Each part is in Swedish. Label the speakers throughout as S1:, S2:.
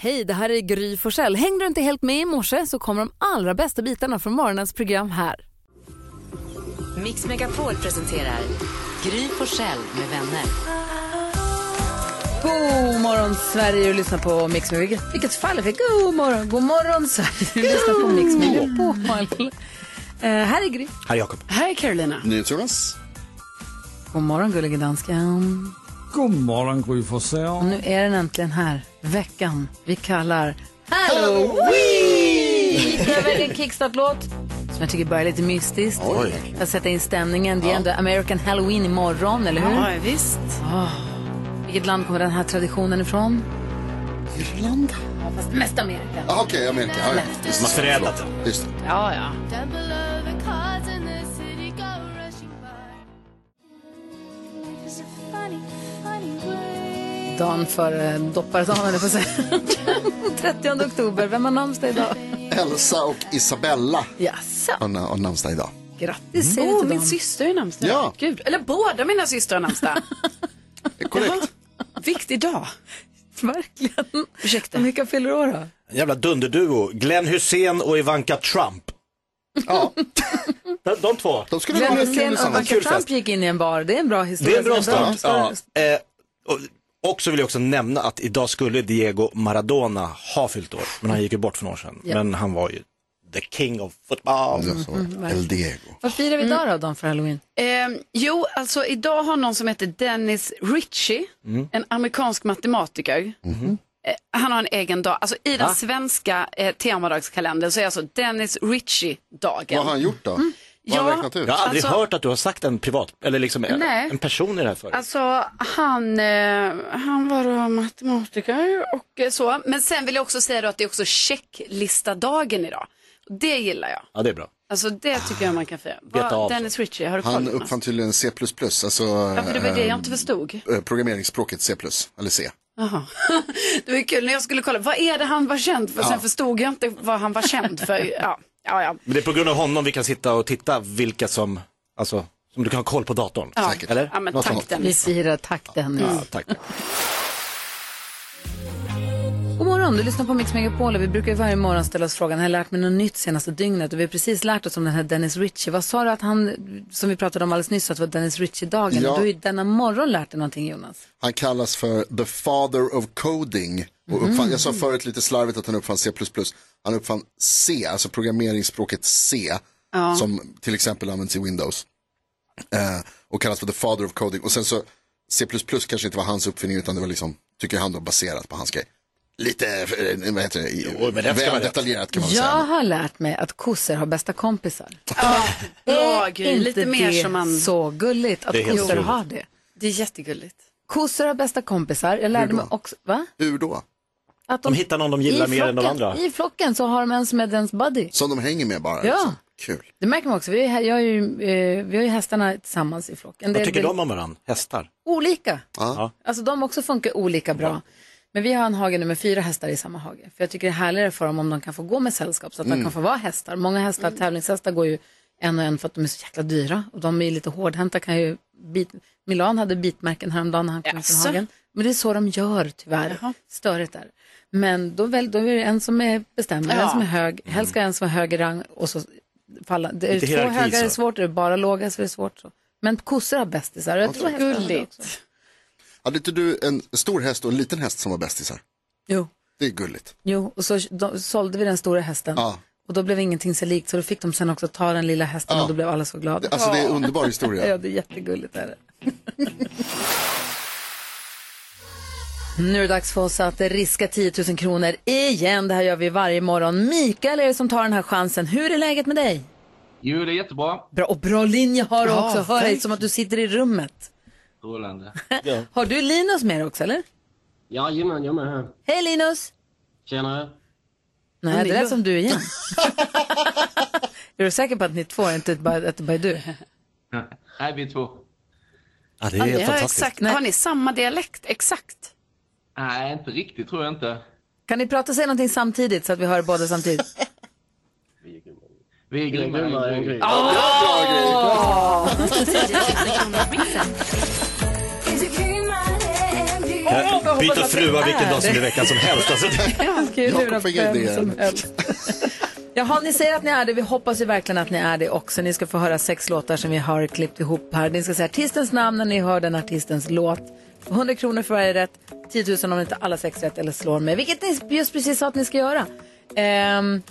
S1: Hej, det här är Gry Forssell. Hängde du inte helt med i morse så kommer de allra bästa bitarna från morgonens program här.
S2: Mix Megapol presenterar Gry Forssell med vänner.
S1: God morgon Sverige, du lyssnar på Mix Megapol. Vilket, vilket fall jag fick. God morgon, god morgon Sverige, du lyssnar på Mix Megapol. Eh, här är Gry.
S3: Här är Jakob.
S1: Här är Carolina.
S3: NyhetsJonas.
S1: God morgon gullige dansken.
S4: God morgon Gry
S1: Och
S4: Forssell.
S1: nu är den äntligen här, veckan vi kallar Halloween! Jag väljer en kickstart-låt som jag tycker börjar lite mystiskt.
S5: Oj.
S1: Jag sätter in stämningen. Det är ändå American Halloween imorgon, eller hur?
S5: Ja,
S1: visst. Vilket land kommer den här traditionen ifrån? Irland. Ja, fast mest Amerika.
S6: Ah, Okej, Amerika. Ja, ja. Just det.
S3: Maserella.
S6: Förlåt. Just det.
S1: Ja, ja. Dagen före dopparedagen, eller jag säga. 30 oktober. Vem har namnsdag idag?
S6: Elsa och Isabella
S1: Jaså?
S6: har na- har namnsdag idag.
S1: Grattis
S6: säger vi till
S5: min
S6: dem.
S5: syster är namnsdag.
S6: Ja.
S5: Gud. Eller båda mina systrar har namnsdag.
S6: Korrekt.
S5: Viktig dag.
S1: Verkligen.
S5: Ursäkta.
S1: Vilka fyller år då?
S3: En jävla dunderduo. Glenn Hussein och Ivanka Trump.
S6: Ja.
S3: de, de två.
S6: De skulle
S1: Glenn
S6: vara
S1: Hysén och Ivanka
S3: Kul fest.
S1: Trump gick in i en bar. Det är en bra
S3: Det
S1: historia. Alltså,
S3: är en bra
S1: historia.
S3: start. Ja. Eh, och, och så vill jag också nämna att idag skulle Diego Maradona ha fyllt år. Men han gick ju bort för några år sedan.
S1: Ja.
S3: Men han var ju the king of football.
S5: Mm,
S6: El Diego.
S1: Vad firar vi idag då, Dan, för halloween?
S5: Ehm, jo, alltså idag har någon som heter Dennis Ritchie,
S6: Mm.
S5: en amerikansk matematiker.
S6: Mm-hmm.
S5: Eh, Han har en egen dag. Alltså i den svenska eh, temadagskalendern så är alltså Dennis
S6: Vad har
S5: Ritchie-dagen.
S6: han gjort då? Vad har
S5: Mm. Ja.
S6: han räknat ut?
S3: Jag har aldrig
S5: Alltså-
S3: hört att du har sagt en privat, eller liksom en,
S5: Nej.
S3: en person i det här förut.
S5: Alltså han, eh, han var då matematiker och eh, så. Men sen vill jag också säga då att det är också checklistadagen idag. Det gillar jag.
S3: ja, det är bra.
S5: Alltså det tycker jag man kan fira.
S3: Beta av
S5: Vad,
S3: sig.
S5: Dennis Ritchie, har du koll
S6: Han
S5: på honom?
S6: uppfann tydligen C++, alltså
S5: Ja, för det var det
S6: eh,
S5: jag inte förstod.
S6: eh, programmeringsspråket C++, eller C.
S5: Jaha. Det var ju kul när jag skulle kolla, vad är det han var känd för? Sen förstod jag inte vad han var känd för. Ja, ja, ja.
S3: Men det är på grund av honom vi kan sitta och titta vilka som, alltså, som du kan ha koll på datorn.
S5: ja.
S6: Säkert.
S3: Eller?
S5: Ja, men
S6: Något
S5: tack
S6: sånt.
S1: Vi
S5: Dennis.
S1: firar takten nu.
S3: Ja, tack.
S1: God morgon, du lyssnar på Mix Megapol och vi brukar ju varje morgon ställa oss frågan, har jag lärt mig något nytt senaste dygnet? Och vi har precis lärt oss om den här Dennis Ritchie. Vad sa du att han, som vi pratade om alldeles nyss, att det var Dennis Ritchie-dagen?
S6: Ja.
S1: Du har ju denna morgon lärt dig någonting Jonas.
S6: Han kallas för the father of coding. Och
S1: Mm.
S6: uppfann, jag sa förut lite slarvigt att han uppfann C++. Han uppfann C, alltså programmeringsspråket C, som till exempel används i Windows. Eh, och kallas för the father of coding. Och sen så, C++ kanske inte var hans uppfinning utan det var liksom, tycker han då, baserat på hans grej. Lite, eh, vad heter det,
S3: men det ska
S6: väl
S3: vara rätt.
S6: detaljerat kan man väl
S1: Jag
S6: säga.
S1: har lärt mig att kossor har bästa kompisar.
S5: Bra
S1: Är
S5: Gry, lite
S1: inte
S5: mer
S1: det
S5: som man...
S1: så gulligt att
S3: Det är helt
S1: kossor
S3: otroligt.
S1: har det?
S5: Det är jättegulligt.
S1: Kossor har bästa kompisar. Jag lärde
S6: Hur då?
S1: mig också, va?
S6: Hur då?
S1: Att
S3: De hittar någon de
S1: i
S3: gillar mer än
S1: flocken,
S3: de andra.
S1: I flocken så har de en som är dens buddy.
S6: Som de hänger med bara?
S1: Ja.
S6: liksom. Kul.
S1: Det märker man också. Vi har, jag har ju, eh, vi har ju hästarna tillsammans i flocken.
S3: Vad
S1: Det-
S3: tycker
S1: det-
S3: de om varandra? Hästar?
S1: Olika.
S6: Ja.
S1: Alltså de också funkar olika bra. Men vi har en hage nu med fyra hästar i samma hage. För jag tycker det är härligare för dem om de kan få gå med sällskap så att de kan få vara hästar. Många hästar, tävlingshästar går ju en och en för att de är så jäkla dyra. Och de är ju lite hårdhänta kan ju, bit... Milan hade bitmärken häromdagen när han kom ut från
S5: Jaså?
S1: hagen. Men det är så de gör tyvärr. Störigt där. Men då, väl, då är det en som är bestämmer,
S5: Ja.
S1: en som är hög. Helst ska en som är hög i rang och så falla. Det är
S3: Lite
S1: två
S3: hierarki,
S1: höga är det
S3: så.
S1: svårt, är det bara låga så är det svårt. Så. Men kossor har bästisar. Jag tror hästar har det också.
S5: Gulligt.
S6: Hade inte du en stor häst och en liten häst som var bästisar?
S1: Jo.
S6: Det är gulligt.
S1: Jo, och så då, sålde vi den stora hästen.
S6: Ja.
S1: Och då blev ingenting så likt, så då fick de sen också ta den lilla hästen
S6: Ja.
S1: och då blev alla så glada.
S6: Alltså det är en underbar historia.
S1: Ja, det är jättegulligt. Är det. nu är det dags för oss att riska 10 000 kronor igen. Det här gör vi varje morgon. Mikael är det som tar den här chansen. Hur är läget med dig?
S7: Jo, det är jättebra.
S1: Bra, och bra linje har du
S5: Ja,
S1: också. Hör dig
S5: verkligen.
S1: som att du sitter i rummet.
S7: Strålande.
S1: Har du Linus med dig också eller?
S7: Jajamän, jag med här.
S1: Hej Linus!
S7: Tjenare.
S1: Nej, det lät som du igen. är du säker på att ni två är inte bara, att det bara är du?
S7: Här är vi två.
S3: Ja, det är
S5: Ja,
S3: helt
S5: ni har,
S3: fantastiskt.
S5: exakt, har ni samma dialekt? Exakt.
S7: Nej, inte riktigt tror jag inte.
S1: Kan ni prata och säga någonting samtidigt så att vi hör båda samtidigt?
S7: Vi är grymmare än Gry.
S3: Kan,
S1: får hoppas
S3: Byta
S1: att det
S3: frua vilken
S1: är
S3: dag som
S1: det.
S3: i veckan som helst. Alltså, det-
S1: Ja, han ska ju lura
S6: Jakob fick
S1: vem
S6: idéer.
S1: som helst. Jaha, ni säger att ni är det. Vi hoppas ju verkligen att ni är det också. Ni ska få höra sex låtar som vi har klippt ihop här. Ni ska säga artistens namn när ni hör den artistens låt. 100 kronor för varje rätt, 10 000 om inte alla sex rätt eller slår mig, vilket ni just precis sa att ni ska göra. Ehm,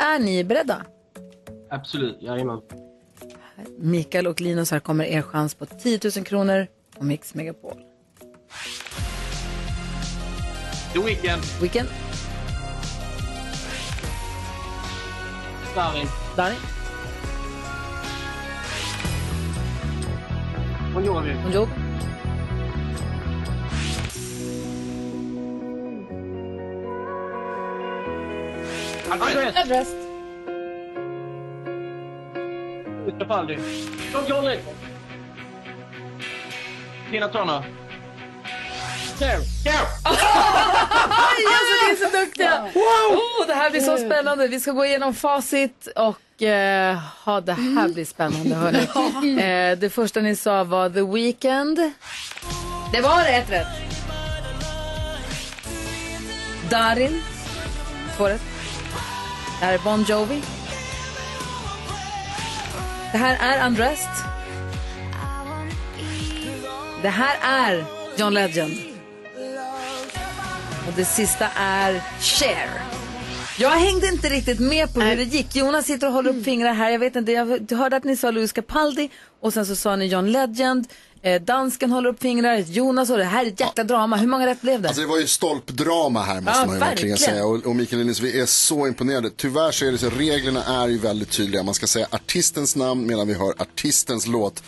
S1: är ni beredda?
S7: Absolut, jajamän.
S1: Mikael och Linus, här kommer er chans på 10 000 kronor och Mix Megapol.
S7: The Weeknd,
S1: Weekend,
S7: Darin,
S1: Darin,
S7: Bon Jovi,
S1: Bon Jovi,
S7: Andreas,
S1: Everest,
S7: Utrapaldi, Tom Johnny, Tina Turner. Care, care!
S1: Alltså, ni är så duktiga! Oh, det här blir så spännande. Vi ska gå igenom facit och eh, ha, det här blir spännande. Hörni. Eh, det första ni sa var The Weeknd. Det var ett rätt. Darin. Två rätt. Det här är Bon Jovi. Det här är Undressed. Det här är John Legend. Och det sista är Cher. Jag hängde inte riktigt med på hur det gick. Jonas sitter och håller upp fingrar här. Jag vet inte, jag hörde att ni sa Louis Capaldi och sen så sa ni John Legend. Eh, dansken håller upp fingrar. Jonas och det här är ett jäkla drama. Hur många rätt blev det?
S6: Alltså det var ju stolpdrama här måste
S1: Ja,
S6: man ju verkligen,
S1: verkligen.
S6: säga. Och, och Mikael Linus, vi är så imponerade. Tyvärr så är det så, reglerna är ju väldigt tydliga. Man ska säga artistens namn medan vi hör artistens låt.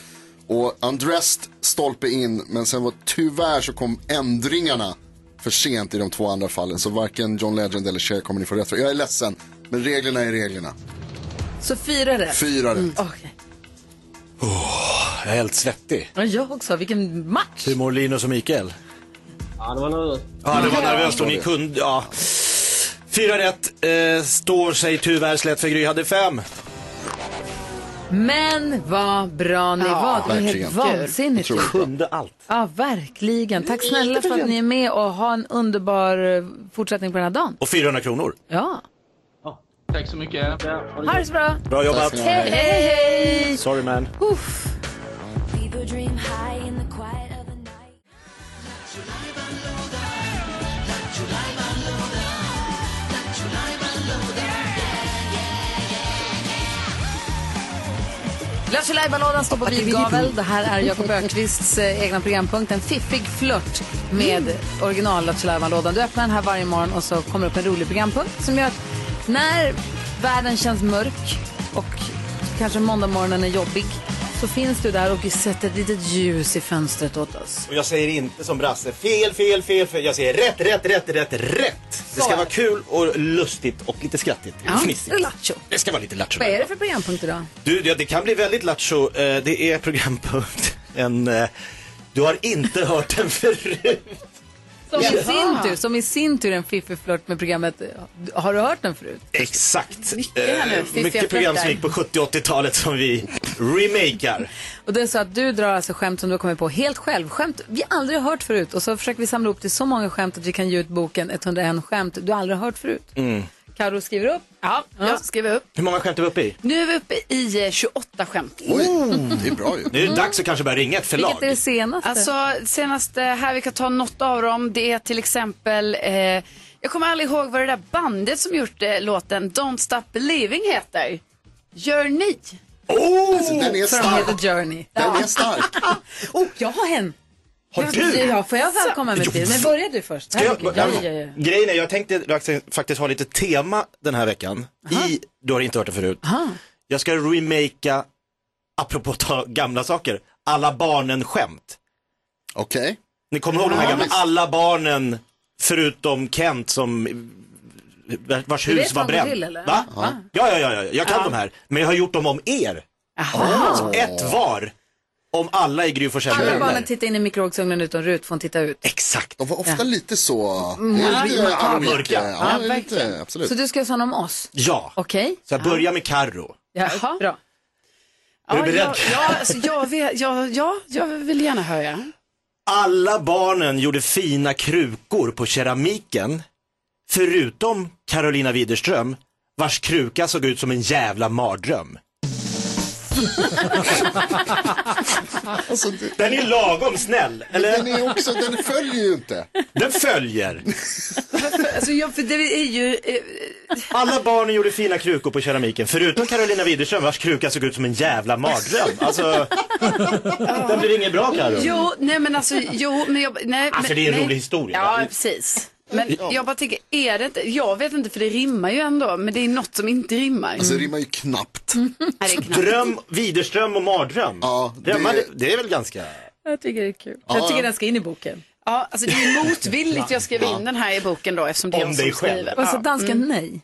S6: Och Undressed stolpe in, men sen var tyvärr så kom ändringarna för sent i de två andra fallen. Så varken John Legend eller Cher kommer ni få rätt för. Jag är ledsen, men reglerna är reglerna.
S1: Så fyra rätt.
S6: Fyra rätt.
S1: Okej.
S3: Jag är helt svettig.
S1: Ja, Jag också. Vilken match!
S3: Hur mår Linus och Mikael?
S7: Ja, det var nervöst.
S3: Ja, det var nervöst och ni kunde... Ja. Fyra rätt. Eh, står sig tyvärr slätt för Gry hade fem.
S1: Men vad bra ni var. Det var helt
S6: verkligen.
S1: vansinnigt.
S6: Otroligt.
S3: Kunde allt.
S1: Ja, verkligen. Tack snälla för att ni är med och ha en underbar eh, fortsättning på den här dagen.
S3: Och 400 kronor.
S1: Ja,
S7: Ja, tack så mycket.
S1: ha det så bra.
S3: Bra jobbat.
S6: Tack ska ni ha.
S1: Hej, hej, hej!
S3: Sorry man.
S1: Uff.
S4: People dream high in the quiet of the night.
S1: Lattjo Lajban-lådan står på vid gavel. Det här är Jakob Ökvists eh, egna programpunkt. En fiffig flört med original Lattjo Lajban-lådan. Du öppnar den här varje morgon och så kommer upp en rolig programpunkt som gör att när världen känns mörk och kanske måndagmorgonen är jobbig så finns du där och sätter ett litet ljus i fönstret åt oss.
S3: Och jag säger inte som Brasse, fel, fel, fel, fel. Jag säger rätt, rätt, rätt, rätt, rätt. Det
S1: Så.
S3: ska vara kul och lustigt och lite skrattigt. och Fnissigt.
S1: det är lattjo.
S3: Det ska vara lite lattjo.
S1: Vad är det för programpunkt idag?
S3: Du, ja, det kan bli väldigt lattjo. Eh, Det är programpunkt. En, eh, du har inte hört den förut.
S1: Som i sin tur, som i sin tur är en fiffig flört med programmet. Har du hört den förut?
S3: Exakt.
S5: Mycket här nu,
S3: Eh,
S5: fiffiga
S3: mycket program som
S5: flörtar.
S3: gick på 70 och 80-talet som vi remakar.
S1: Och det är så att du drar alltså skämt som du har kommit på helt själv. Skämt vi aldrig har hört förut. Och så försöker vi samla ihop till så många skämt att vi kan ge ut boken 101 skämt du aldrig har hört förut. Mm. Karo skriver upp.
S5: Ja, jag skriver upp.
S3: Hur många skämt är vi uppe i?
S5: Nu är vi uppe i eh, 28 skämt.
S6: Oj, det är bra ju.
S3: Nu är det dags att kanske börja ringa ett förlag.
S1: Mm. Vilket är det senaste?
S5: Alltså senast eh, här, vi kan ta något av dem. Det är till exempel, eh, jag kommer aldrig ihåg vad det där bandet som gjort eh, låten Don't Stop Believing heter. Gör ni?
S6: Alltså, den är
S1: för de
S6: stark.
S1: heter Journey.
S6: Den är stark.
S1: Oh, jag har en!
S3: Har du?
S1: Ja, får jag välkomma mig till? Men börjar du först?
S3: Ska jag,
S1: Herregud, ja, ja, ja.
S3: Grejen är, jag tänkte faktiskt ha lite tema den här veckan. I, du har inte hört det förut. Jag ska remakea, apropå ta gamla saker, alla barnen-skämt.
S6: Okej.
S3: Ni kommer ihåg de här gamla, alla barnen förutom Kent som vars hus
S1: vet
S3: var
S1: vad de
S3: bränt.
S1: vill, eller?
S3: Va? Ja, ja, ja, ja, jag kan de här. Men jag har gjort dem om er. Så ett var om alla i Gry Forssell med
S1: Alla
S3: vänner.
S1: barnen tittar in i mikrovågsugnen utan rut får titta ut.
S3: Exakt.
S6: De var ofta lite så...
S1: Mm.
S6: det är lite
S3: ja,
S6: Arvika.
S3: mörka.
S6: Ja, det är lite, absolut.
S1: Så du ska göra sån om oss?
S3: Ja.
S1: Okej?
S3: Så jag börjar med Carro.
S1: Ja, bra.
S3: Är du beredd?
S5: Ja, ja, alltså, jag, vet, ja, ja, jag vill gärna höra.
S3: Alla barnen gjorde fina krukor på keramiken, förutom Carolina Widerström, vars kruka såg ut som en jävla mardröm.
S6: Alltså, det,
S3: Den är lagom snäll,
S6: den,
S3: eller?
S6: är också, den följer ju inte.
S3: Den följer.
S5: Alltså, jag, för det är ju... eh,
S3: Alla barnen gjorde fina krukor på keramiken, förutom Carolina Widerström, vars kruka såg ut som en jävla mardröm. Alltså, den blir inget bra, Carro.
S5: Jo, nej men alltså, jo, men jag... Nej,
S3: Alltså,
S5: men,
S3: det är en
S5: nej.
S3: rolig historia.
S5: Ja, precis. Men jag bara tänker, är det inte, jag vet inte för det rimmar ju ändå, men det är något som inte rimmar.
S6: Alltså det rimmar ju knappt.
S1: Mm.
S5: Nej, det är knappt.
S3: Dröm, Widerström och mardröm.
S6: Ja,
S3: det...
S6: det-
S3: det, det är väl ganska...
S1: Jag tycker det är kul. Jag tycker den ska in i boken.
S5: Ja, alltså det är motvilligt jag skrev in den här i boken då eftersom det är
S3: Om
S5: jag som
S3: dig själv.
S5: skriver.
S1: Och så
S5: Ja.
S1: dansken nej.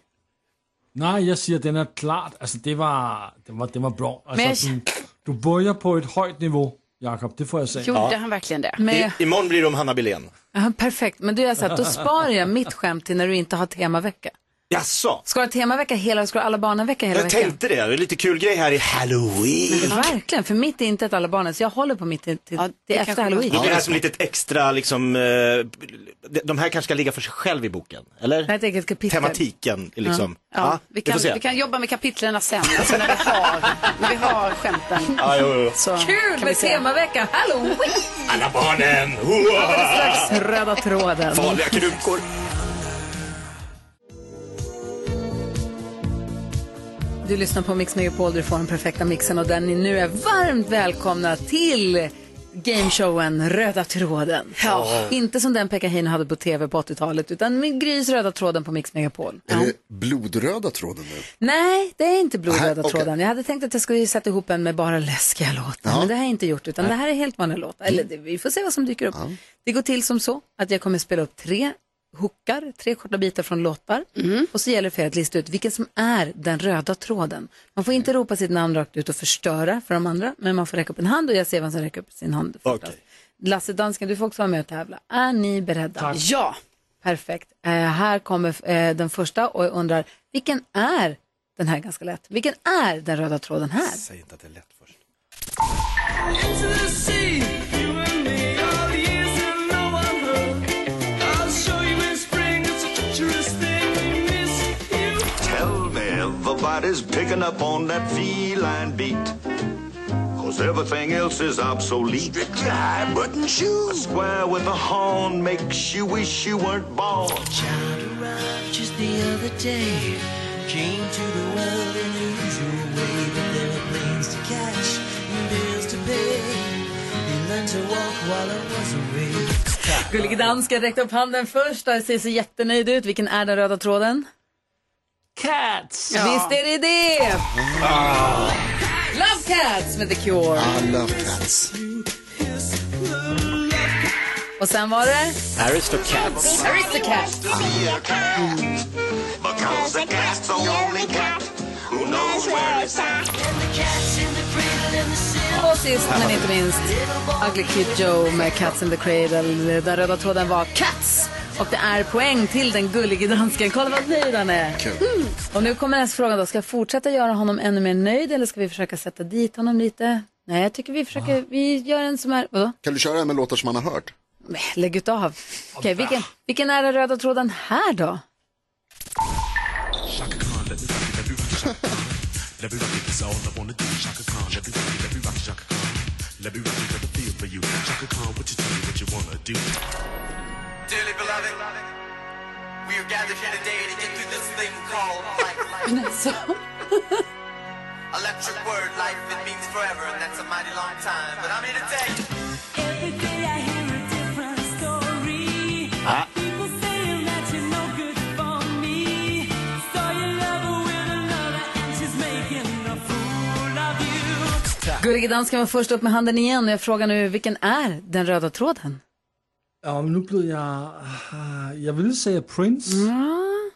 S8: Nej, jag siger, den er klart. Altså, det var, det var, det var bra. Altså,
S1: Men-
S8: du, du bøjer på et højt niveau, Jakob. Det får jeg sagt.
S5: Gjorde han verkligen det?
S1: Med,
S3: I, imorgon blir det om Hanna Billén.
S1: ja, perfekt, men du är så här, då sparar jag mitt skämt till när du inte har temavecka.
S3: Jaså?
S1: Ska du ha temavecka hela, ska du ha alla barnen-vecka hela
S3: Jag
S1: veckan?
S3: tänkte det. Det är lite kul grej här i Halloween.
S1: Verkligen, för mitt är inte ett alla barnens. Jag håller på mitt till, till,
S5: Ja, det
S1: till
S5: kanske
S1: efter halloween.
S3: Det blir det här som lite extra, liksom, eh, de- de här kanske ska ligga för sig själv i boken, eller?
S1: Nej, ett eget kapitel.
S3: Tematiken, liksom. Ja,
S5: Ja, vi,
S3: vi
S5: kan,
S3: får se.
S5: vi kan jobba med kapitlerna sen, alltså när, vi har, när vi har skämten.
S3: Ja, jo, jo.
S5: Så
S1: Kul
S5: kan vi
S1: med
S5: se.
S1: temavecka, halloween!
S3: Alla barnen! Hoa!
S1: Slags röda tråden.
S3: Farliga krukor.
S1: Du lyssnar på Mix Megapol, du får den perfekta mixen och den ni nu är varmt välkomna till gameshowen Röda tråden. Inte som den Pekka Heino hade på tv på 80-talet utan med Grys Röda tråden på Mix Megapol.
S6: Är det blodröda tråden nu?
S1: Nej, det är inte blodröda
S6: Nej, okej.
S1: tråden. Jag hade tänkt att jag skulle sätta ihop en med bara läskiga låtar, men det har jag inte gjort, utan det här är helt vanliga låtar. Eller det, vi får se vad som dyker upp. Det går till som så att jag kommer spela upp tre hookar, tre korta bitar från låtar. Och så gäller det för er att lista ut vilken som är den röda tråden. Man får inte ropa sitt namn rakt ut och förstöra för de andra, men man får räcka upp en hand och jag ser vem som räcker upp sin hand fortast. Lasse Dansken, du får också vara med och tävla. Är ni beredda?
S5: Ja,
S1: Perfekt. Eh, här kommer eh, den första och jag undrar, vilken är den här ganska lätt? Vilken är den röda tråden här?
S3: Säg inte att det är lätt först.
S9: Tell me everybody's picking up on that feline beat. Cause everything else is obsolete. Strictly high button shoes. A square with a horn makes you wish you weren't born.
S1: Gullige dansken räckte upp handen först och ser så jättenöjd ut. Vilken är den röda tråden? Cats! Visst är det det! Love Cats med The Cure.
S6: I love cats.
S1: Och sen var det
S3: Aristocats.
S1: Aristocats.
S9: Because the cat's the only cat who knows where it's at.
S1: Och sist men inte minst Ugly Kid Joe med Cats in the Cradle. Den röda tråden var Cats. Och det är poäng till den gullige dansken. Kolla vad nöjd han är. Mm. Och nu kommer nästa fråga då. Ska jag fortsätta göra honom ännu mer nöjd eller ska vi försöka sätta dit honom lite? Nej, jag tycker vi försöker. Vi gör en som är... Vadå?
S6: Kan du köra en med låtar som man har hört?
S1: Nej, Lägg ut av. Okej, vilken, vilken är den röda tråden här då?
S10: Dearly beloved, we are gathered here today to get through this thing called life. Electric word, life, it means forever, and that's a mighty long time. But I'm here to tell you.
S1: Gullige dansken var först upp med handen igen och jeg frågar nu vilken är den röda tråden?
S8: Og nu blev jeg... ah, Jeg ville sige Prince.
S5: Mm.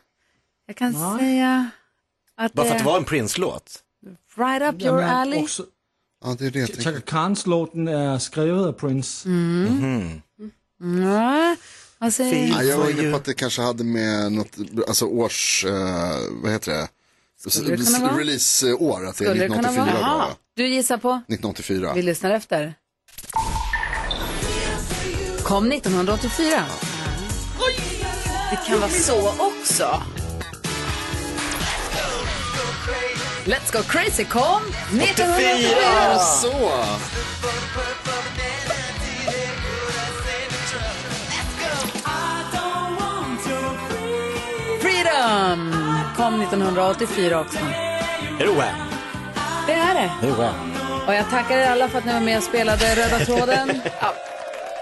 S1: Jag kan säga att
S3: Bara
S1: det
S3: för att det
S1: är
S3: var en Prince-låt.
S1: right up your
S8: Jamen,
S1: alley.
S8: også-
S6: Ja, det är det jag
S8: Chaka
S6: tänker.
S8: Khans låten er skrevet af Prince.
S1: Ja, vad säger
S6: Ja, jag var inne på att det kanske hade med något, alltså års, eh, vad heter det? eh,
S1: det kunna vara?
S6: Releaseår, att det är
S1: Skulle det kunna
S6: 1984
S1: vara?
S6: då, va?
S1: Du gissar på?
S6: 1984.
S1: Vi lyssnar efter. Kom 1984.
S5: Det kan vara så också.
S1: Let's go crazy kom 1984.
S6: Ja, så.
S1: Freedom kom 1984 också.
S3: Är det Wham?
S1: Det är det.
S3: Är det Wham?
S1: Och jag tackar er alla för att ni var med och spelade Röda tråden.
S5: Ja.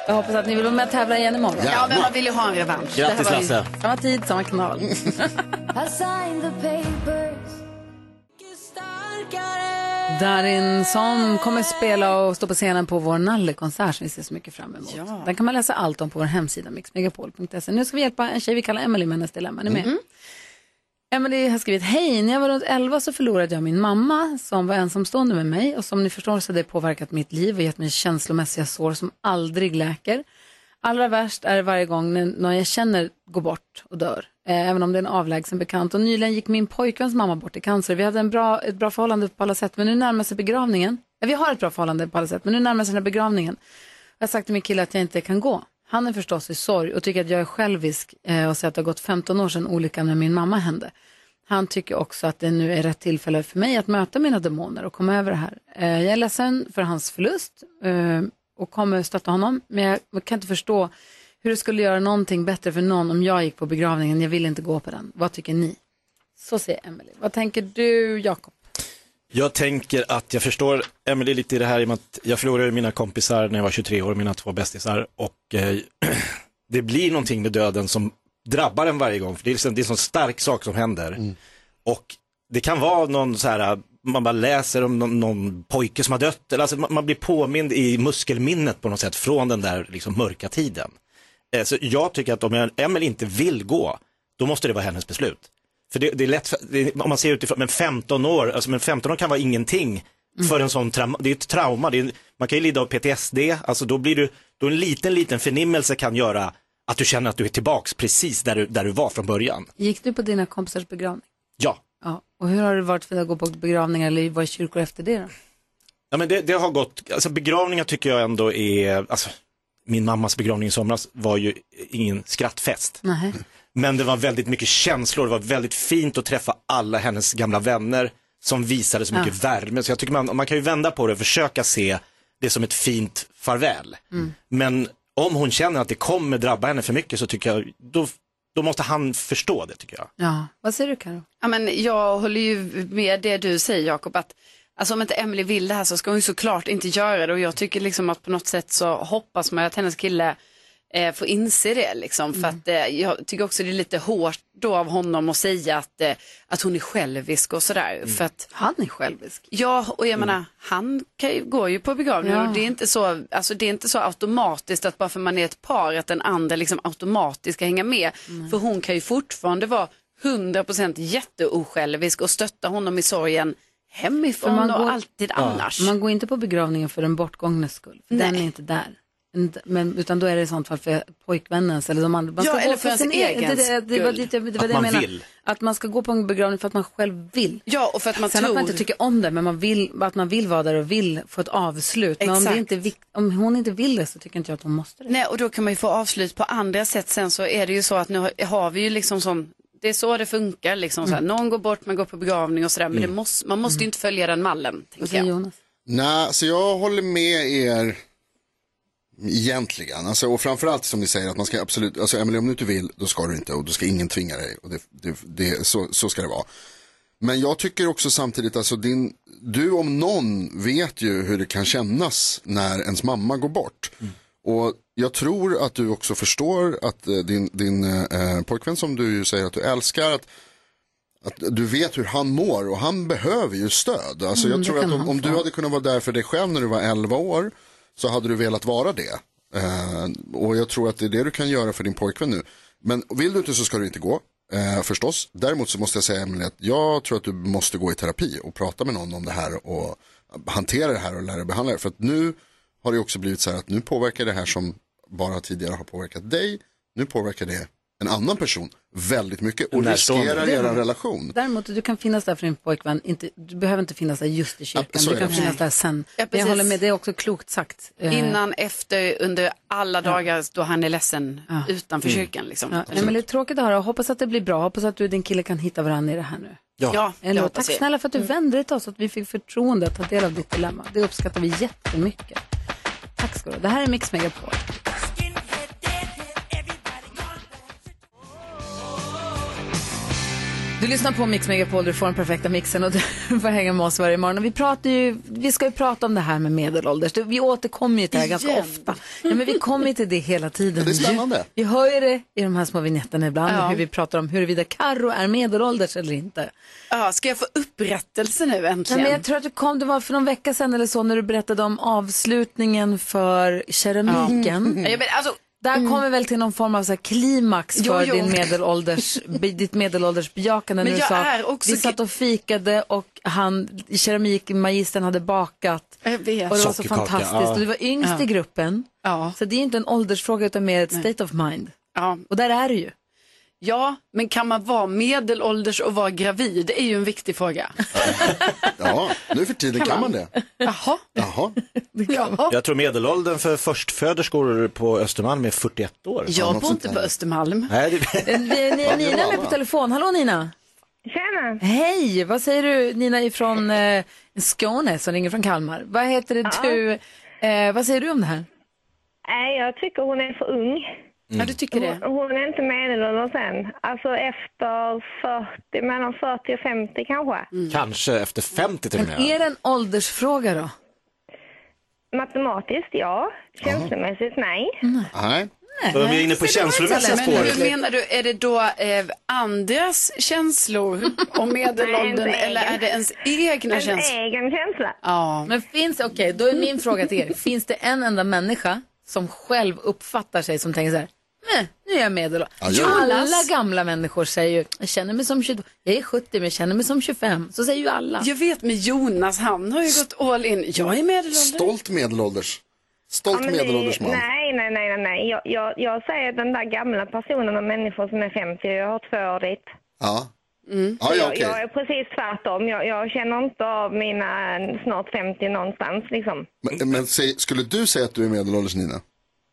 S1: Jag hoppas att ni vill vara med och tävla igen imorgon.
S5: Ja, men man vill ju ha en revansch. Det här
S3: Grattis
S5: var ju-
S3: Lasse.
S1: Samma tid, samma kanal.
S4: I signed the papers.
S1: Darin som kommer spela och stå på scenen på vår Nalle-konsert som vi ser så mycket fram emot. Den kan man läsa allt om på vår hemsida mixmegapol.se. Nu ska vi hjälpa en tjej vi kallar Emily med hennes dilemma. Är ni
S5: Mhm.
S1: med? Emily har skrivit, hej, när jag var runt 11 så förlorade jag min mamma som var ensamstående med mig och som ni förstår så har det påverkat mitt liv och gett mig känslomässiga sår som aldrig läker. Allra värst är det varje gång när någon jag känner går bort och dör, eh, även om det är en avlägsen bekant. Och nyligen gick min pojkväns mamma bort i cancer. Vi hade en bra, ett bra förhållande på alla sätt, men nu närmar sig begravningen. Ja, vi har ett bra förhållande på alla sätt, men nu närmar sig den här begravningen. Jag har sagt till min kille att jag inte kan gå. Han är förstås i sorg och tycker att jag är självisk eh, och säger att det har gått 15 år sedan olyckan med min mamma hände. Han tycker också att det nu är rätt tillfälle för mig att möta mina demoner och komma över det här. Eh, Jag är ledsen för hans förlust eh, och kommer stötta honom, men jag- jag kan inte förstå hur det skulle göra någonting bättre för någon om jag gick på begravningen. Jag vill inte gå på den. Vad tycker ni? Så säger Emily. Vad tänker du, Jakob?
S3: Jag tänker att jag förstår Emelie lite i det här i och med att jag förlorade mina kompisar när jag var 23 år, mina två bästisar. Och eh, det blir någonting med döden som drabbar en varje gång, för det är liksom- det är en sån stark sak som händer.
S5: Mm.
S3: Och det kan vara någon så här, man bara läser om någon, någon pojke som har dött, eller alltså man, man blir påmind i muskelminnet på något sätt från den där liksom mörka tiden. Eh, Så jag tycker att om Emelie inte vill gå, då måste det vara hennes beslut. För det, det är lätt, för- det, är- om man ser utifrån, men 15 år, alltså men 15 år kan vara ingenting för en sån trauma, det är ett trauma, det är, en- man kan ju lida av PTSD, alltså då blir du, då en liten, liten förnimmelse kan göra att du känner att du är tillbaks precis där du, där du var från början.
S1: Gick du på dina kompisars begravning?
S3: Ja.
S1: Ja. Och hur har det varit för dig att gå på begravningar eller vara i kyrkor efter det då?
S3: Ja, men det, det har gått, alltså begravningar tycker jag ändå är, alltså, min mammas begravning i somras var ju ingen skrattfest.
S1: Nej.
S3: Men det var väldigt mycket känslor, det var väldigt fint att träffa alla hennes gamla vänner som visade så mycket värme. Så jag tycker man, man kan ju vända på det och försöka se det som ett fint farväl. Men om hon känner att det kommer drabba henne för mycket så tycker jag, då, då måste han förstå det tycker jag.
S1: Ja. Vad säger du, Karo?
S5: Ja, men jag håller ju med det du säger Jakob, att alltså, om inte Emily vill det här så ska hon ju såklart inte göra det och jag tycker liksom att på något sätt så hoppas man ju att hennes kille eh, får inse det liksom. För
S1: Mm.
S5: att eh, jag tycker också det är lite hårt då av honom att säga att, eh, att hon är självisk och sådär. För att
S1: Mm. Han är självisk. Mm.
S5: Ja, och jag menar, han kan ju, går ju på begravning
S1: Ja.
S5: och det är, inte så, alltså, det är inte så automatiskt att bara för man är ett par att den andra liksom automatiskt ska hänga med. För hon kan ju fortfarande vara 100% jätteosjälvisk och stötta honom i sorgen hemifrån
S1: För man
S5: och
S1: går-
S5: alltid annars.
S1: Man går inte på begravningen för den bortgångnes skull. För den är inte där. En- Men, utan då är det i sånt fall för pojkvännens eller de andra. Man
S5: Ja,
S1: ska gå
S5: eller för ens egen
S1: det, det, det var
S5: skull.
S1: lite, det var det
S3: Att
S1: jag
S3: man
S1: menar.
S3: vill.
S1: Att man ska gå på en begravning för att man själv vill.
S5: Ja, och för att man
S1: Sen att
S5: tror...
S1: man inte tycker om det, men man vill, att man vill vara där och vill få ett avslut. Men om, det
S5: Exakt.
S1: inte, är vikt- om hon inte vill det så tycker inte jag att hon måste det.
S5: Nej, och då kan man ju få avslut på andra sätt. Sen så är det ju så att nu har- har vi ju liksom sån, det är så det funkar liksom. Så här,
S1: Mm.
S5: någon går bort, man går på begravning och sådär. Men det måste, man måste ju inte följa den mallen,
S1: Vad
S5: tänker
S1: säger
S5: jag.
S1: Jonas?
S6: Nej, så jag håller med er egentligen. Alltså, och framförallt som ni säger att man ska absolut, alltså Emelie om du inte vill då ska du inte och då ska ingen tvinga dig. Och det, det, det, så, så ska det vara. Men jag tycker också samtidigt, alltså din, du om någon vet ju hur det kan kännas när ens mamma går bort. Och jag tror att du också förstår att eh, din, din eh, pojkvän som du ju säger att du älskar, att att du vet hur han mår och han behöver ju stöd. Alltså jag tror
S1: Mm, kan
S6: att om,
S1: han
S6: om du
S1: få.
S6: hade kunnat vara där för dig själv när du var 11 år så hade du velat vara det. Eh, och jag tror att det är det du kan göra för din pojkvän nu. Men vill du inte så ska du inte gå, eh, förstås. Däremot så måste jag säga Emelie att jag tror att du måste gå i terapi och prata med någon om det här och hantera det här och lära dig behandla det. För att nu har det också blivit så här att nu påverkar det här som bara tidigare har påverkat dig, nu påverkar det en annan person väldigt mycket och
S1: En närstående.
S6: riskerar
S1: Det-
S6: er relation.
S1: Däremot, du kan finnas där för din pojkvän, inte, du behöver inte finnas där just i kyrkan,
S6: Ja, så
S1: du
S6: är
S1: kan
S6: det.
S1: finnas där sen.
S5: Ja,
S1: jag
S5: precis.
S1: håller med, det är också klokt sagt. Eh,
S5: Innan, efter, under alla dagar då han är ledsen
S1: Ja.
S5: utanför
S1: Mm.
S5: kyrkan. Liksom.
S1: Ja, nej, men det är tråkigt att höra, hoppas att det blir bra, hoppas att du och din kille kan hitta varandra i det här nu.
S5: Ja, det
S1: Ändå,
S5: hoppas
S1: tack
S5: vi.
S1: snälla för att
S6: Mm.
S1: du vände dig till oss, att vi fick förtroende att ta del av ditt dilemma. Det uppskattar vi jättemycket. Tack ska du ha. Det här är Mix Megapol. Du lyssnar på Mix Megapol, du får den perfekta mixen och du får hänga med oss varje morgon. Och vi, pratar ju, vi ska ju prata om det här med medelålders. Du, Vi återkommer ju till det här ganska
S5: Igen.
S1: ofta. Ja, men vi kommer ju till det hela tiden.
S6: Ja, det är spännande.
S1: Vi hör ju det i de här små vignetterna ibland,
S5: Ja.
S1: hur vi pratar om huruvida Karo är medelålders eller inte.
S5: Ja, ska jag få upprättelse nu äntligen?
S1: Nej, men jag tror att du kom, det var för någon vecka sedan eller så, när du berättade om avslutningen för keramiken.
S5: Ja, men alltså,
S1: Där kommer vi väl till någon form av så här klimax
S5: Jo,
S1: för
S5: jo.
S1: Din medelålders, be- ditt medelåldersbejakande.
S5: Men
S1: när du
S5: jag
S1: sa,
S5: är också
S1: vi satt och fikade och han, keramikmagistern hade bakat.
S5: jag vet.
S1: Och det var så
S3: Sockerkaka,
S1: fantastiskt.
S3: ja.
S1: Och du var yngst
S5: Ja.
S1: i gruppen.
S5: Ja.
S1: Så det är ju inte en åldersfråga utan mer ett state of mind.
S5: Ja.
S1: Och där är du ju.
S5: ja, men kan man vara medelålders och vara gravid? Det är ju en viktig fråga.
S6: Ja, nu för tiden kan man det.
S5: Jaha.
S6: Jaha.
S5: Ja.
S3: Jag tror medelåldern för förstföderskor på Östermalm är 41 år.
S5: Jag
S6: något
S5: bor
S6: sånt
S5: inte
S6: där.
S5: på Östermalm.
S3: Nej, det...
S1: Eh, Vi, ni, Nina är med på telefon. Hallå Nina!
S11: Tjena!
S1: Hej! Vad säger du Nina ifrån eh, Skåne som ringer från Kalmar? Vad heter det du? Eh, vad säger du om det här?
S11: Nej, jag tycker hon är för ung.
S5: Ja, du tycker det?
S11: Hon är inte medelålders än. Alltså efter 40, mellan 40 och 50 kanske.
S3: Kanske efter 50 till och med.
S1: Är det en åldersfråga då?
S11: Matematiskt ja, känslomässigt nej.
S6: Nej.
S3: Då är vi inne på känslomässiga
S5: Men hur
S3: spåret.
S5: menar du, är det då eh, andras känslor om medelåldern
S11: Nej, inte
S5: eller är det ens egna
S11: En
S5: känslor?
S11: egen känsla.
S5: Ja.
S1: Men finns okej, då är min fråga till er. Finns det en enda människa som själv uppfattar sig som tänker så här, "Meh, nu är jag medelålders.
S6: Ja, ja.
S1: alla gamla människor säger ju, jag känner mig som 22, jag är 70 men jag känner mig som 25. Så säger ju alla.
S5: Jag vet med Jonas, han har ju gått all in. Jag är medelålders.
S6: Stolt medelålders.
S11: Ja,
S6: Stolt
S11: men det-
S6: medelålders man.
S11: Nej, nej, nej, nej, nej. Jag, jag, jag säger den där gamla personen och människor som är 50, jag har två år dit.
S6: Ja. Ja, ja,
S11: jag, jag
S6: okej.
S11: är precis tvärtom. Jag, jag känner inte av mina eh, snart 50 någonstans liksom.
S6: Men, men säg, skulle du säga att du är medelålders Nina?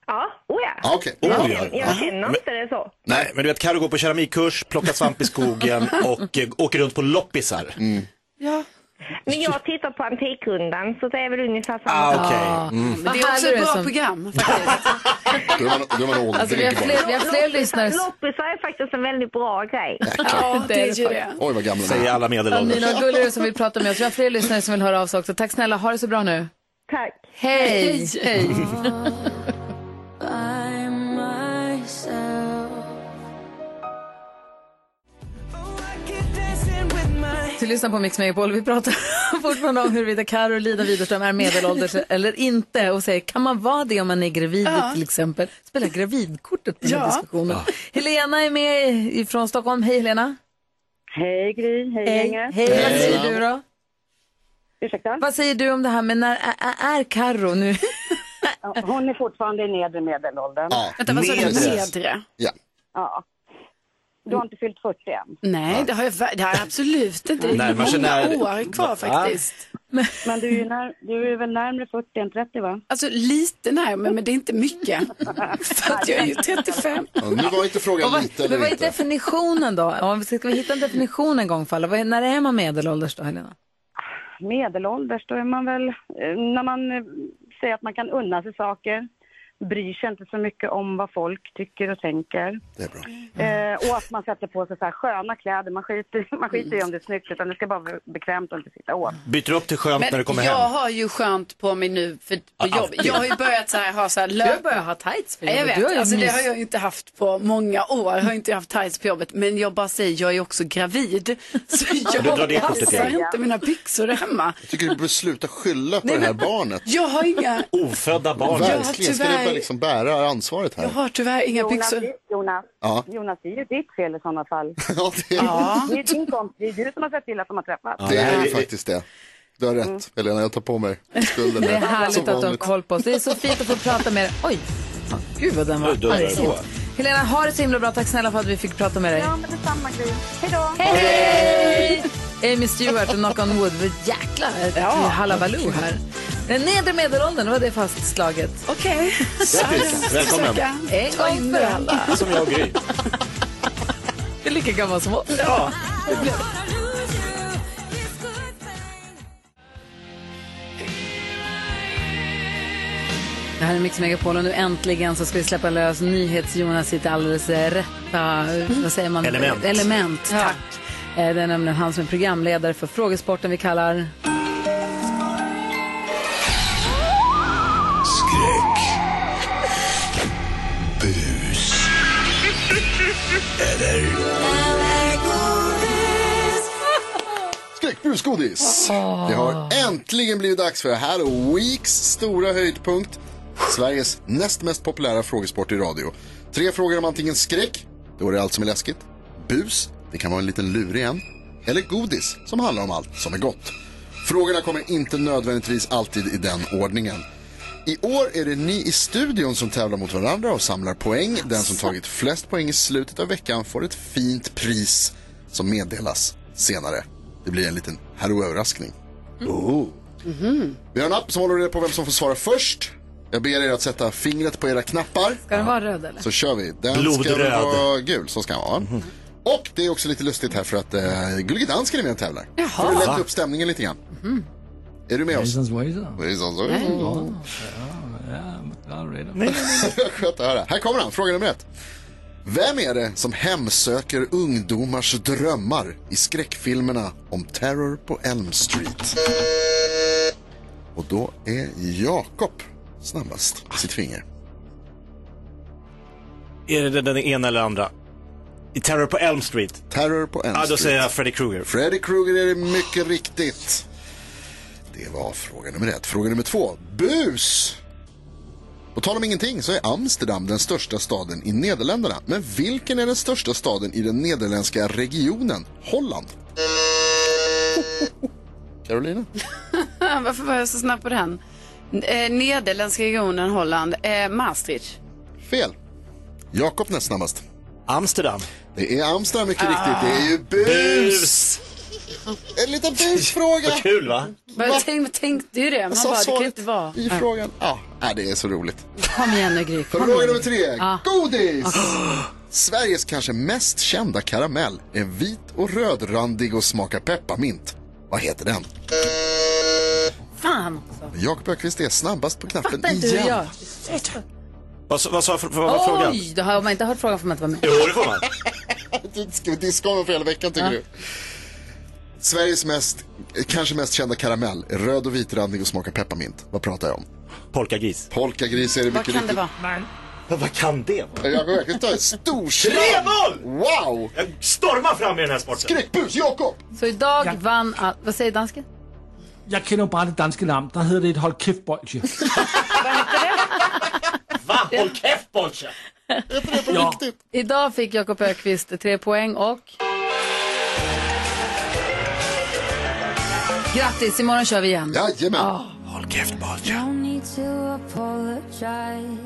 S11: Ja, oh ja.
S6: Ja, okej.
S3: Oj,
S11: jag,
S3: ja.
S11: jag känner inte det så.
S3: Nej, men du vet, Carro går på keramikkurs, plockar svamp i skogen och eh, åker runt på loppisar.
S5: Mm. Ja.
S11: Men jag tittar på Antikrundan, så det är väl ungefär samma
S3: Ah,
S11: sak.
S3: okej.
S1: Vad
S5: Det är också
S1: härlig du
S5: ett bra
S1: som-
S5: program faktiskt.
S6: Då är man, då är man åldrig
S1: Alltså, vi har
S6: bara.
S1: fler, vi har fler lyssnare.
S11: Loppisar är faktiskt en väldigt bra grej.
S5: ja, det är ju det.
S6: Oj, vad gamla ni
S3: Säger
S6: är.
S3: alla medelålders.
S1: Nina och Gullare som vi pratar med oss. Vi har fler lyssnare som vill höra av sig också. Tack snälla, ha det så bra nu.
S11: Tack.
S1: Hej! Hej.
S4: By myself.
S1: Du lyssnar på Mix Megapol. Vi pratar fortfarande om huruvida Carolina Widerström är medelålders eller inte och säger kan man vara det om man är gravid till exempel? Spela gravidkortet på den här
S5: Ja.
S1: diskussionen. Helena är med från Stockholm. Hej Helena!
S11: Hej Gry, hej,
S1: Hej, vad säger du då?
S11: Ursäkta?
S1: Vad säger du om det här med när ä- ä- är Carro nu?
S11: Hon är fortfarande i nedre medelåldern.
S6: Ja.
S5: Vänta, vad sa du?
S3: Nedre.
S5: Nedre?
S6: Ja.
S11: Ja. Du har inte fyllt 40 än.
S5: Nej, det har jag, ver- det har jag absolut inte. Det är
S3: Närmar sig
S5: många
S3: när-
S5: år kvar faktiskt.
S11: Men du är, ju när, du är väl närmare 40 än 30 va?
S5: Alltså lite närmare, men det är inte mycket. För att jag är ju 35.
S6: Ja, nu var inte
S1: Och
S6: frågan
S1: vad,
S6: lite
S1: men
S6: eller
S1: vad är
S6: inte.
S1: definitionen då? Om vi ska, ska vi hitta en definition en gång för alla? Vad är- När är man medelålders då Helena?
S11: Medelålders, då är man väl... eh, När man eh, säger att man kan unna sig saker, bryr sig inte så mycket om vad folk tycker och tänker.
S6: Det är bra.
S11: Eh, och att man sätter på sig så här sköna kläder. Man skiter, man skiter i om det är snyggt, utan det ska bara vara bekvämt och inte sitta åt.
S3: Byter upp till skönt när du kommer
S5: jag
S3: hem.
S5: har ju skönt på mig nu för, på
S3: Ja,
S5: jobb.
S3: alltid.
S5: Jag har ju börjat så här, ha så här
S1: Du har
S5: löp.
S1: börjat ha tights för
S5: Nej, Jag
S1: jobbet. Du har
S5: vet,
S1: ju
S5: alltså, det
S1: mys.
S5: har jag ju inte haft på många år. Jag har inte haft tights på jobbet. Men jag bara säger, jag är också gravid. Så jag
S3: drar det kortet
S5: passar
S3: igen.
S5: inte mina byxor hemma.
S6: Jag tycker du borde sluta skylla på det här barnet.
S5: Jag har inga,
S3: Ofödda barn.
S5: Ja,
S6: Verkligen, ska du
S5: tyvärr.
S6: bara liksom bära ansvaret
S5: jag
S6: här?
S5: har tyvärr inga byxor.
S11: Jonas,
S6: Ja.
S11: Jonas, det är ju ditt fel i sådana fall.
S6: Ja, det är,
S11: Det är din kompis, det är du som har sett till att de har träffats.
S6: det är
S3: nej.
S6: ju faktiskt det. Du har rätt, Helena, jag tar på mig skulden.
S1: Mm. Det är
S6: Som
S1: härligt att du har
S6: vanligt.
S1: koll på oss. Det är så fint att få prata med dig. Oj, fan, gud vad den var
S3: Oj, då är det
S1: argsint. Helena, ha det så himla bra. Tack snälla för att vi fick prata med dig.
S11: Ja, men detsamma Gry. Hej då!
S1: Hej! Amy Stewart och Knock on Wood. Vad Jäklar, ett halabaloo här. Den nedre medelåldern, det var det fastslaget. Okej.
S3: Grattis, välkommen.
S1: En gång för alla.
S3: Som jag och Gry.
S1: Det är lika gammal som oss. Ja. Det här är Mix Megapol och nu äntligen så ska vi släppa lös NyhetsJonas sitt alldeles rätta, vad säger man?
S2: Element.
S1: Element,
S2: Ja.
S1: tack. Eh, Det är nämligen han som är programledare för frågesporten vi kallar
S10: Skräck. Bus. Eller...
S6: Skräck, busgodis! Det har äntligen blivit dags för Här Weeks stora höjdpunkt. Sveriges näst mest populära frågesport i radio. Tre frågor om antingen skräck, då är det allt som är läskigt. Bus, det kan vara en liten lurig en. Eller godis, som handlar om allt som är gott. Frågorna kommer inte nödvändigtvis alltid i den ordningen. I år är det ni i studion som tävlar mot varandra och samlar poäng. Den som tagit flest poäng i slutet av veckan får ett fint pris som meddelas senare. Det blir en liten herroöverraskning. Oh. Vi har en app som håller reda på vem som får svara först. Jag ber er att sätta fingret på era knappar.
S1: Ska den vara röd eller?
S6: Så kör vi. Den ska väl
S3: Blodröd.
S6: vara gul, så ska den vara. Och det är också lite lustigt här för att eh, Gullige Dansken är med och tävlar. Jaha. För att lätta upp stämningen lite grann. Är du med oss?
S8: Jason's Wazer.
S6: Jason's
S8: Ja,
S6: Wazer.
S8: ja, redan.
S6: Skönt att höra. Här kommer han, fråga nummer ett. Vem är det som hemsöker ungdomars drömmar i skräckfilmerna om Terror på Elm Street? Och då är Jakob snabbast i sitt finger.
S3: Är det den ena eller andra? I Terror på Elm Street?
S6: Terror på Elm
S3: Ja, då
S6: Street.
S3: säger jag Freddy Krueger.
S6: Freddy Krueger är det mycket riktigt. Det var fråga nummer ett. Fråga nummer två. Bus! På tal om ingenting så är Amsterdam den största staden i Nederländerna. Men vilken är den största staden i den nederländska regionen Holland? Carolina?
S5: Varför var jag så snabb på den? Eh, Nederländska regionen, Holland, eh, Maastricht.
S6: Fel. Jakob näst snabbast.
S3: Amsterdam.
S6: Det är Amsterdam mycket riktigt. Det är ju Ah. bus! En liten busfråga.
S3: Vad kul va?
S5: Vad jag tänkte, tänkte ju det. Man
S6: sa
S5: bara, det kan ju
S6: svaret
S5: inte vara.
S6: I frågan. Ja, ah, det är så roligt.
S1: Kom igen nu Gry. kom
S6: Fråga
S1: igen.
S6: nummer tre.
S1: Ja.
S6: Godis! Sveriges kanske mest kända karamell är vit och rödrandig och smakar pepparmint. Vad heter den?
S1: Fan också.
S6: Jakob Öqvist är snabbast på knappen
S1: Fattar inte hur du
S6: igen.
S1: gör.
S3: Vad, vad sa vad var frågan?
S1: Oj, då har man inte hört frågan får man inte vara med.
S3: Jo, det får man.
S6: Du Ska vi diska honom för hela veckan tycker
S1: Ja.
S6: du? Sveriges mest, kanske mest kända karamell är röd och vitrandig och smakar pepparmint. Vad pratar jag om?
S3: Polkagris.
S6: Polkagris är det
S5: Vad
S6: mycket
S5: kan det
S6: riktigt.
S5: vara?
S3: Men vad kan det vara?
S6: Jakob Öqvist tar ett storslag.
S3: 3-0!
S6: Wow!
S3: Jag stormar fram i den här sporten.
S6: Skräckbus, Jakob!
S1: Så idag vann all... Vad säger dansken?
S8: Jeg kender jo bare det danske navn. Der hedder det et hold kæft bolsje.
S3: Va? Håll käft Bolsje!
S6: Heter det på
S8: Ja.
S6: riktigt?
S1: Idag fick Jakob Ökvist tre poäng och... Grattis, imorgon kör vi igen.
S6: Jajamän.
S3: Håll käft Bolsje.
S4: Don't need to apologize.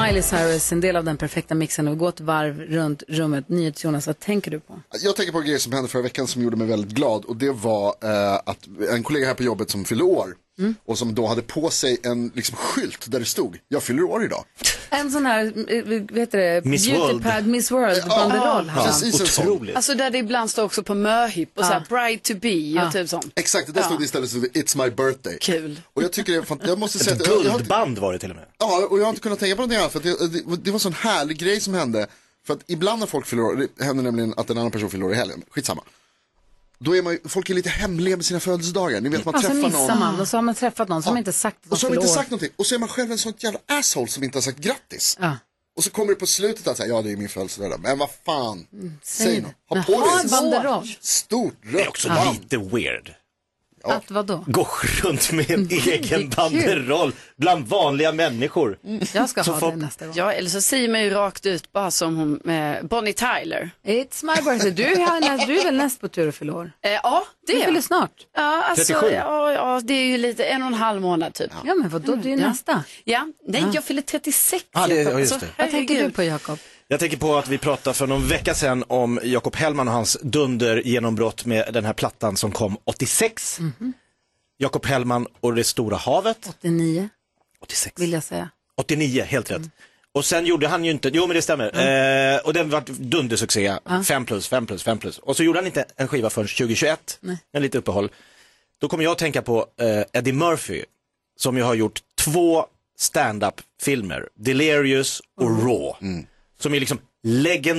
S1: Miley Cyrus, en del av den perfekta mixen och gå ett varv runt rummet. NyhetsJonas, vad tänker du på?
S6: Alltså, Jag tänker på en grej som hände förra veckan som gjorde mig väldigt glad och det var eh, att en kollega här på jobbet som fyllde år och som då hade på sig en liksom, skylt där det stod jag fyller år idag.
S1: En sån här, eh, vad heter det?
S3: Miss
S1: Beauty
S3: World.
S1: Pad, Miss World banderoll. hade han.
S6: precis en sån.
S3: Otroligt.
S5: Alltså där det ibland står också på möhipp och så här, bride to be och typ sånt.
S6: Exakt, det där stod det istället så It's my birthday.
S5: Kul.
S6: Och jag tycker det är fant- jag måste säga
S3: Ett
S6: att jag, jag, har inte-
S3: guldband var det till och med.
S6: ja, och jag har inte kunnat tänka på någonting annat för att det, det, det var en sån härlig grej som hände. För att ibland när folk fyller år, det händer nämligen att en annan person fyller år i helgen, skitsamma. Då är man ju, folk är lite hemliga med sina födelsedagar, ni vet man
S1: Ja, så
S6: träffar någon.
S1: Alltså, missar man och så har man träffat någon som inte sagt att de
S6: Och så har man
S1: fyller
S6: inte
S1: år.
S6: sagt någonting. Och så är man själv en sånt jävla asshole som inte har sagt grattis.
S1: Ja.
S6: Och så kommer det på slutet att säga, ja det är min födelsedag. Men vad fan. Säg
S5: Mm.
S1: det.
S6: något.
S1: Men
S6: Ha på
S1: ha
S6: dig
S1: en
S6: ett
S1: banderoll.
S6: stort rött
S3: Också
S6: band.
S3: lite weird.
S1: Att vadå?
S3: Gå runt med en egen banderoll bland vanliga människor.
S1: Jag ska
S3: Så
S1: ha
S3: folk-
S1: det nästa gång.
S5: Ja, eller så säger man ju rakt ut bara som hon, eh, Bonnie Tyler.
S1: It's my birthday. Du, är näst- du är väl näst på tur att fylla år?
S5: Eh, ja, det
S1: Du
S5: är
S1: fyller
S5: jag.
S1: snart.
S5: Ja, alltså,
S1: 37.
S5: ja, ja, det är ju lite, en och en halv månad typ.
S1: Ja, men vadå, det är ju
S5: Ja.
S1: nästa.
S5: Ja, nej, jag fyller 36.
S3: Ja, det-
S5: Jakob.
S3: ja, just
S5: Alltså,
S3: det.
S1: Vad tänker du
S5: herregud.
S1: på, Jakob?
S3: Jag tänker på att vi pratade för någon vecka sedan om Jakob Hellman och hans dunder genombrott med den här plattan som kom 86. Jakob Hellman och det stora havet,
S1: 89,
S3: 86.
S1: vill jag säga.
S3: 89, helt rätt. Och sen gjorde han ju inte, jo men det stämmer, eh, och den vart dundersuccé, 5 plus, 5 plus, 5 plus. Och så gjorde han inte en skiva förrän 2021, en lite uppehåll. Då kommer jag att tänka på eh, Eddie Murphy, som ju har gjort två stand-up-filmer, Delirious och
S1: Mm.
S3: Raw, som är liksom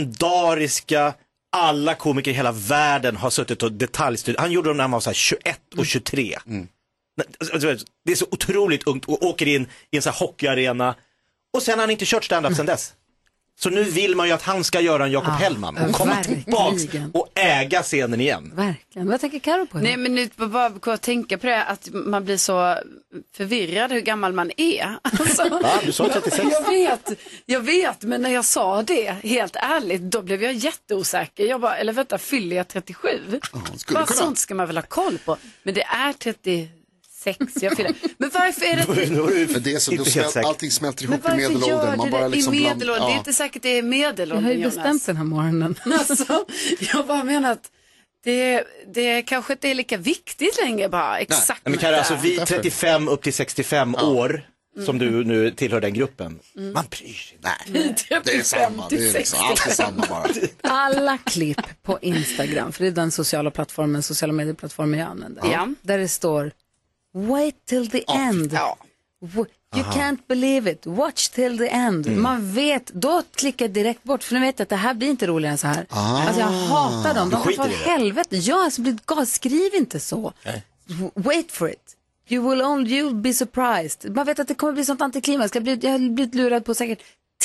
S3: legendariska, alla komiker i hela världen har suttit och detaljstyrt. Han gjorde dem när han var så här 21
S1: Mm.
S3: och 23. Nej, alltså, Det är så otroligt ungt och åker in i en sån här hockeyarena och sen har han inte kört stand-up sen dess. Så nu vill man ju att han ska göra en Jakob Hellman och komma
S1: verkligen.
S3: tillbaks och äga scenen igen.
S1: Verkligen. Vad tänker Karo på?
S5: Nej, men nu bara bara tänka på det, att man blir så förvirrad hur gammal man är. Alltså,
S3: Va? Du sa 36.
S5: Jag vet, jag vet, men när jag sa det, helt ärligt, då blev jag jätteosäker. Jag bara, eller vänta, fyller jag 37?
S6: skulle kunna.
S5: Vad sånt ska man väl ha koll på. Men det är 36 jag fyller. Men varför är det...
S6: Men det är så, då
S3: Inte helt
S6: smäl,
S3: säker.
S6: allting smälter
S5: Men
S6: ihop i
S5: varför gör
S6: medelåldern.
S5: du
S6: Man bara
S5: det
S6: liksom
S5: i
S6: bland-
S5: medelåldern? Det är inte säkert det är
S1: Jag
S5: medelåldern,
S1: har ju
S5: Jonas.
S1: bestämt den här morgonen.
S5: Alltså, jag bara menar att det, det kanske inte är lika viktigt längre bara. Exakt
S3: Men
S5: när
S3: Kara,
S5: det
S3: alltså
S5: är.
S3: vi 35 upp till 65 år som du nu tillhör den gruppen, man bryr sig inte.
S6: Nej, det är samma. Det är
S5: 50,
S6: liksom, allt är samma bara.
S1: Alla klipp på Instagram, för det är den sociala plattformen, sociala medieplattformen jag använder.
S5: Ja.
S1: Där det står Wait till the end. W- You can't believe it. Watch till the end.
S3: Mm.
S1: Man vet, då klickar jag direkt bort för nu vet jag att det här blir inte roligare än så här. Alltså jag hatar dem. De
S3: Ah.
S1: kan
S3: Du skiter
S1: få
S3: i det?
S1: helvete. Ja, alltså blir gas. Skriv inte så. W- Wait for it. You will only, you'll be surprised. Man vet att det kommer bli sånt antiklimax. Jag, blir, jag har blivit lurad på säkert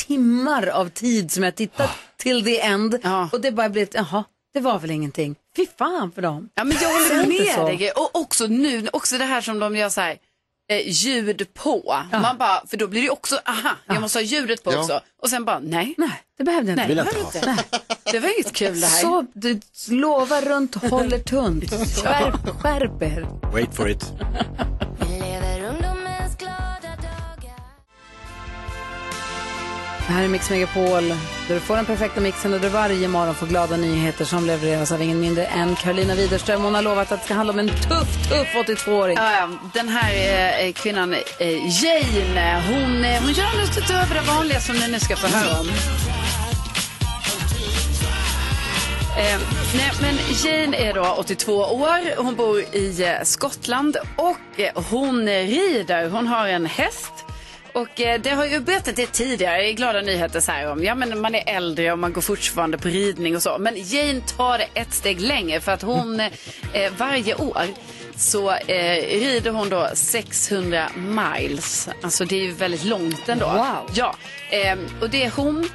S1: timmar av tid som jag
S5: Ah.
S1: tittat till the end.
S5: Ja.
S1: Och det bara blir ett, jaha, det var väl ingenting. Fy fan för dem.
S5: Ja, men jag håller
S1: Säg inte så.
S5: med dig. Och också nu, också det här som de gör så här, eh, ljud på. Man bara, för då blir det ju också, aha, jag måste ha ljudet på
S6: Ja.
S5: också. Och sen bara, nej,
S1: Nej, det behövde jag inte.
S5: nej, det var inte. Det var inget kul det här.
S1: Så, du lovar runt, håller tunt. Skärp, skärp er.
S3: Wait for it.
S1: Det här är Mix Megapol, där du får den perfekta mixen och där du varje morgon får glada nyheter som levereras av ingen mindre än Carolina Widerström. Hon har lovat att det ska handla om en tuff, tuff 82-åring.
S5: Ja, ja, den här eh, kvinnan, eh, Jane, hon, eh, hon gör något utöver det vanliga som ni nu ska få höra om. Eh, nej, men Jane är då 82 år, hon bor i eh, Skottland och eh, hon eh, rider, hon har en häst. Och eh, det har ju berättat det tidigare i Glada nyheter så här om, ja men man är äldre och man går fortfarande på ridning och så. Men Jane tar det ett steg längre för att hon eh, varje år så eh, rider hon då 600 miles. Alltså det är ju väldigt långt ändå.
S1: Wow.
S5: Ja, eh, och det är hon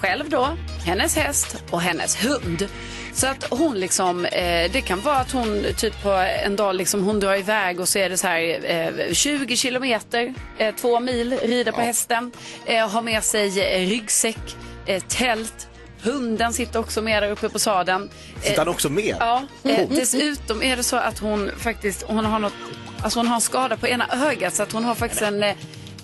S5: själv då, hennes häst och hennes hund. Så att hon liksom, eh, det kan vara att hon typ på en dag liksom hon drar iväg och så är det så här eh, 20 kilometer, eh, två mil, rider på hästen, eh, har med sig eh, ryggsäck, eh, tält, hunden sitter också med där uppe på sadeln. Eh,
S3: Sitter han också med?
S5: Ja,
S3: Mm.
S5: eh, dessutom är det så att hon faktiskt hon har, något, alltså hon har en skada på ena ögat så att hon har faktiskt en, eh,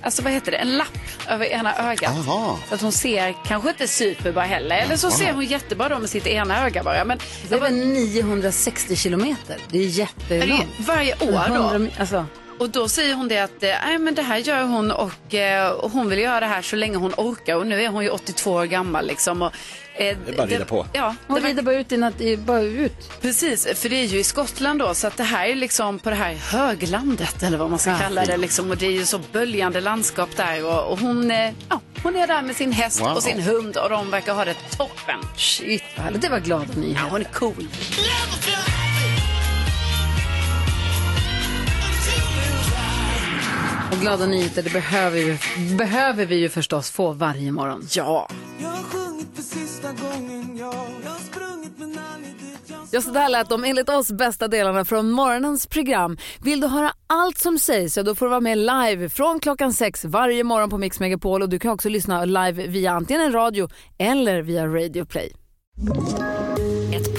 S5: alltså vad heter det, en lapp över ena ögat.
S6: Aha.
S5: Så att hon ser kanske inte superbra heller. Eller så ser hon jättebra då med sitt ena öga bara. Men
S1: Det var 960 kilometer. Det är
S5: är det
S1: jättelångt.
S5: varje år
S1: 100
S5: då.
S1: mi- Alltså,
S5: Och då säger hon det att eh, nej, men det här gör hon och, eh, och hon vill göra det här så länge hon orkar. Och nu är hon ju 82 år gammal liksom. Och, eh,
S3: är bara att rida på.
S5: Ja,
S1: hon
S5: det var-
S1: rider bara ut, i nat- i- bara ut.
S5: Precis, för det är ju i Skottland då, så att det här är liksom på det här höglandet eller vad man ska
S1: Ah,
S5: kalla det liksom. Och det är ju så böljande landskap där och, och hon, eh, ja, hon är där med sin häst
S6: Wow.
S5: och sin hund och de verkar ha det toppen.
S1: Shit, vad härligt. Det var glada
S5: Ja,
S1: nyheter.
S5: hon är cool.
S1: Och glada nyheter, det behöver vi, behöver vi ju förstås få varje morgon.
S5: Ja.
S10: Jag har sjungit för sista gången, jag Jag har sprungit men aldrig dit jag
S1: Ja, så där lät de enligt oss bästa delarna från morgonens program. Vill du höra allt som sägs så då får du vara med live från klockan sex varje morgon på Mix Megapol och du kan också lyssna live via antingen en radio eller via Radio Play.
S12: Ett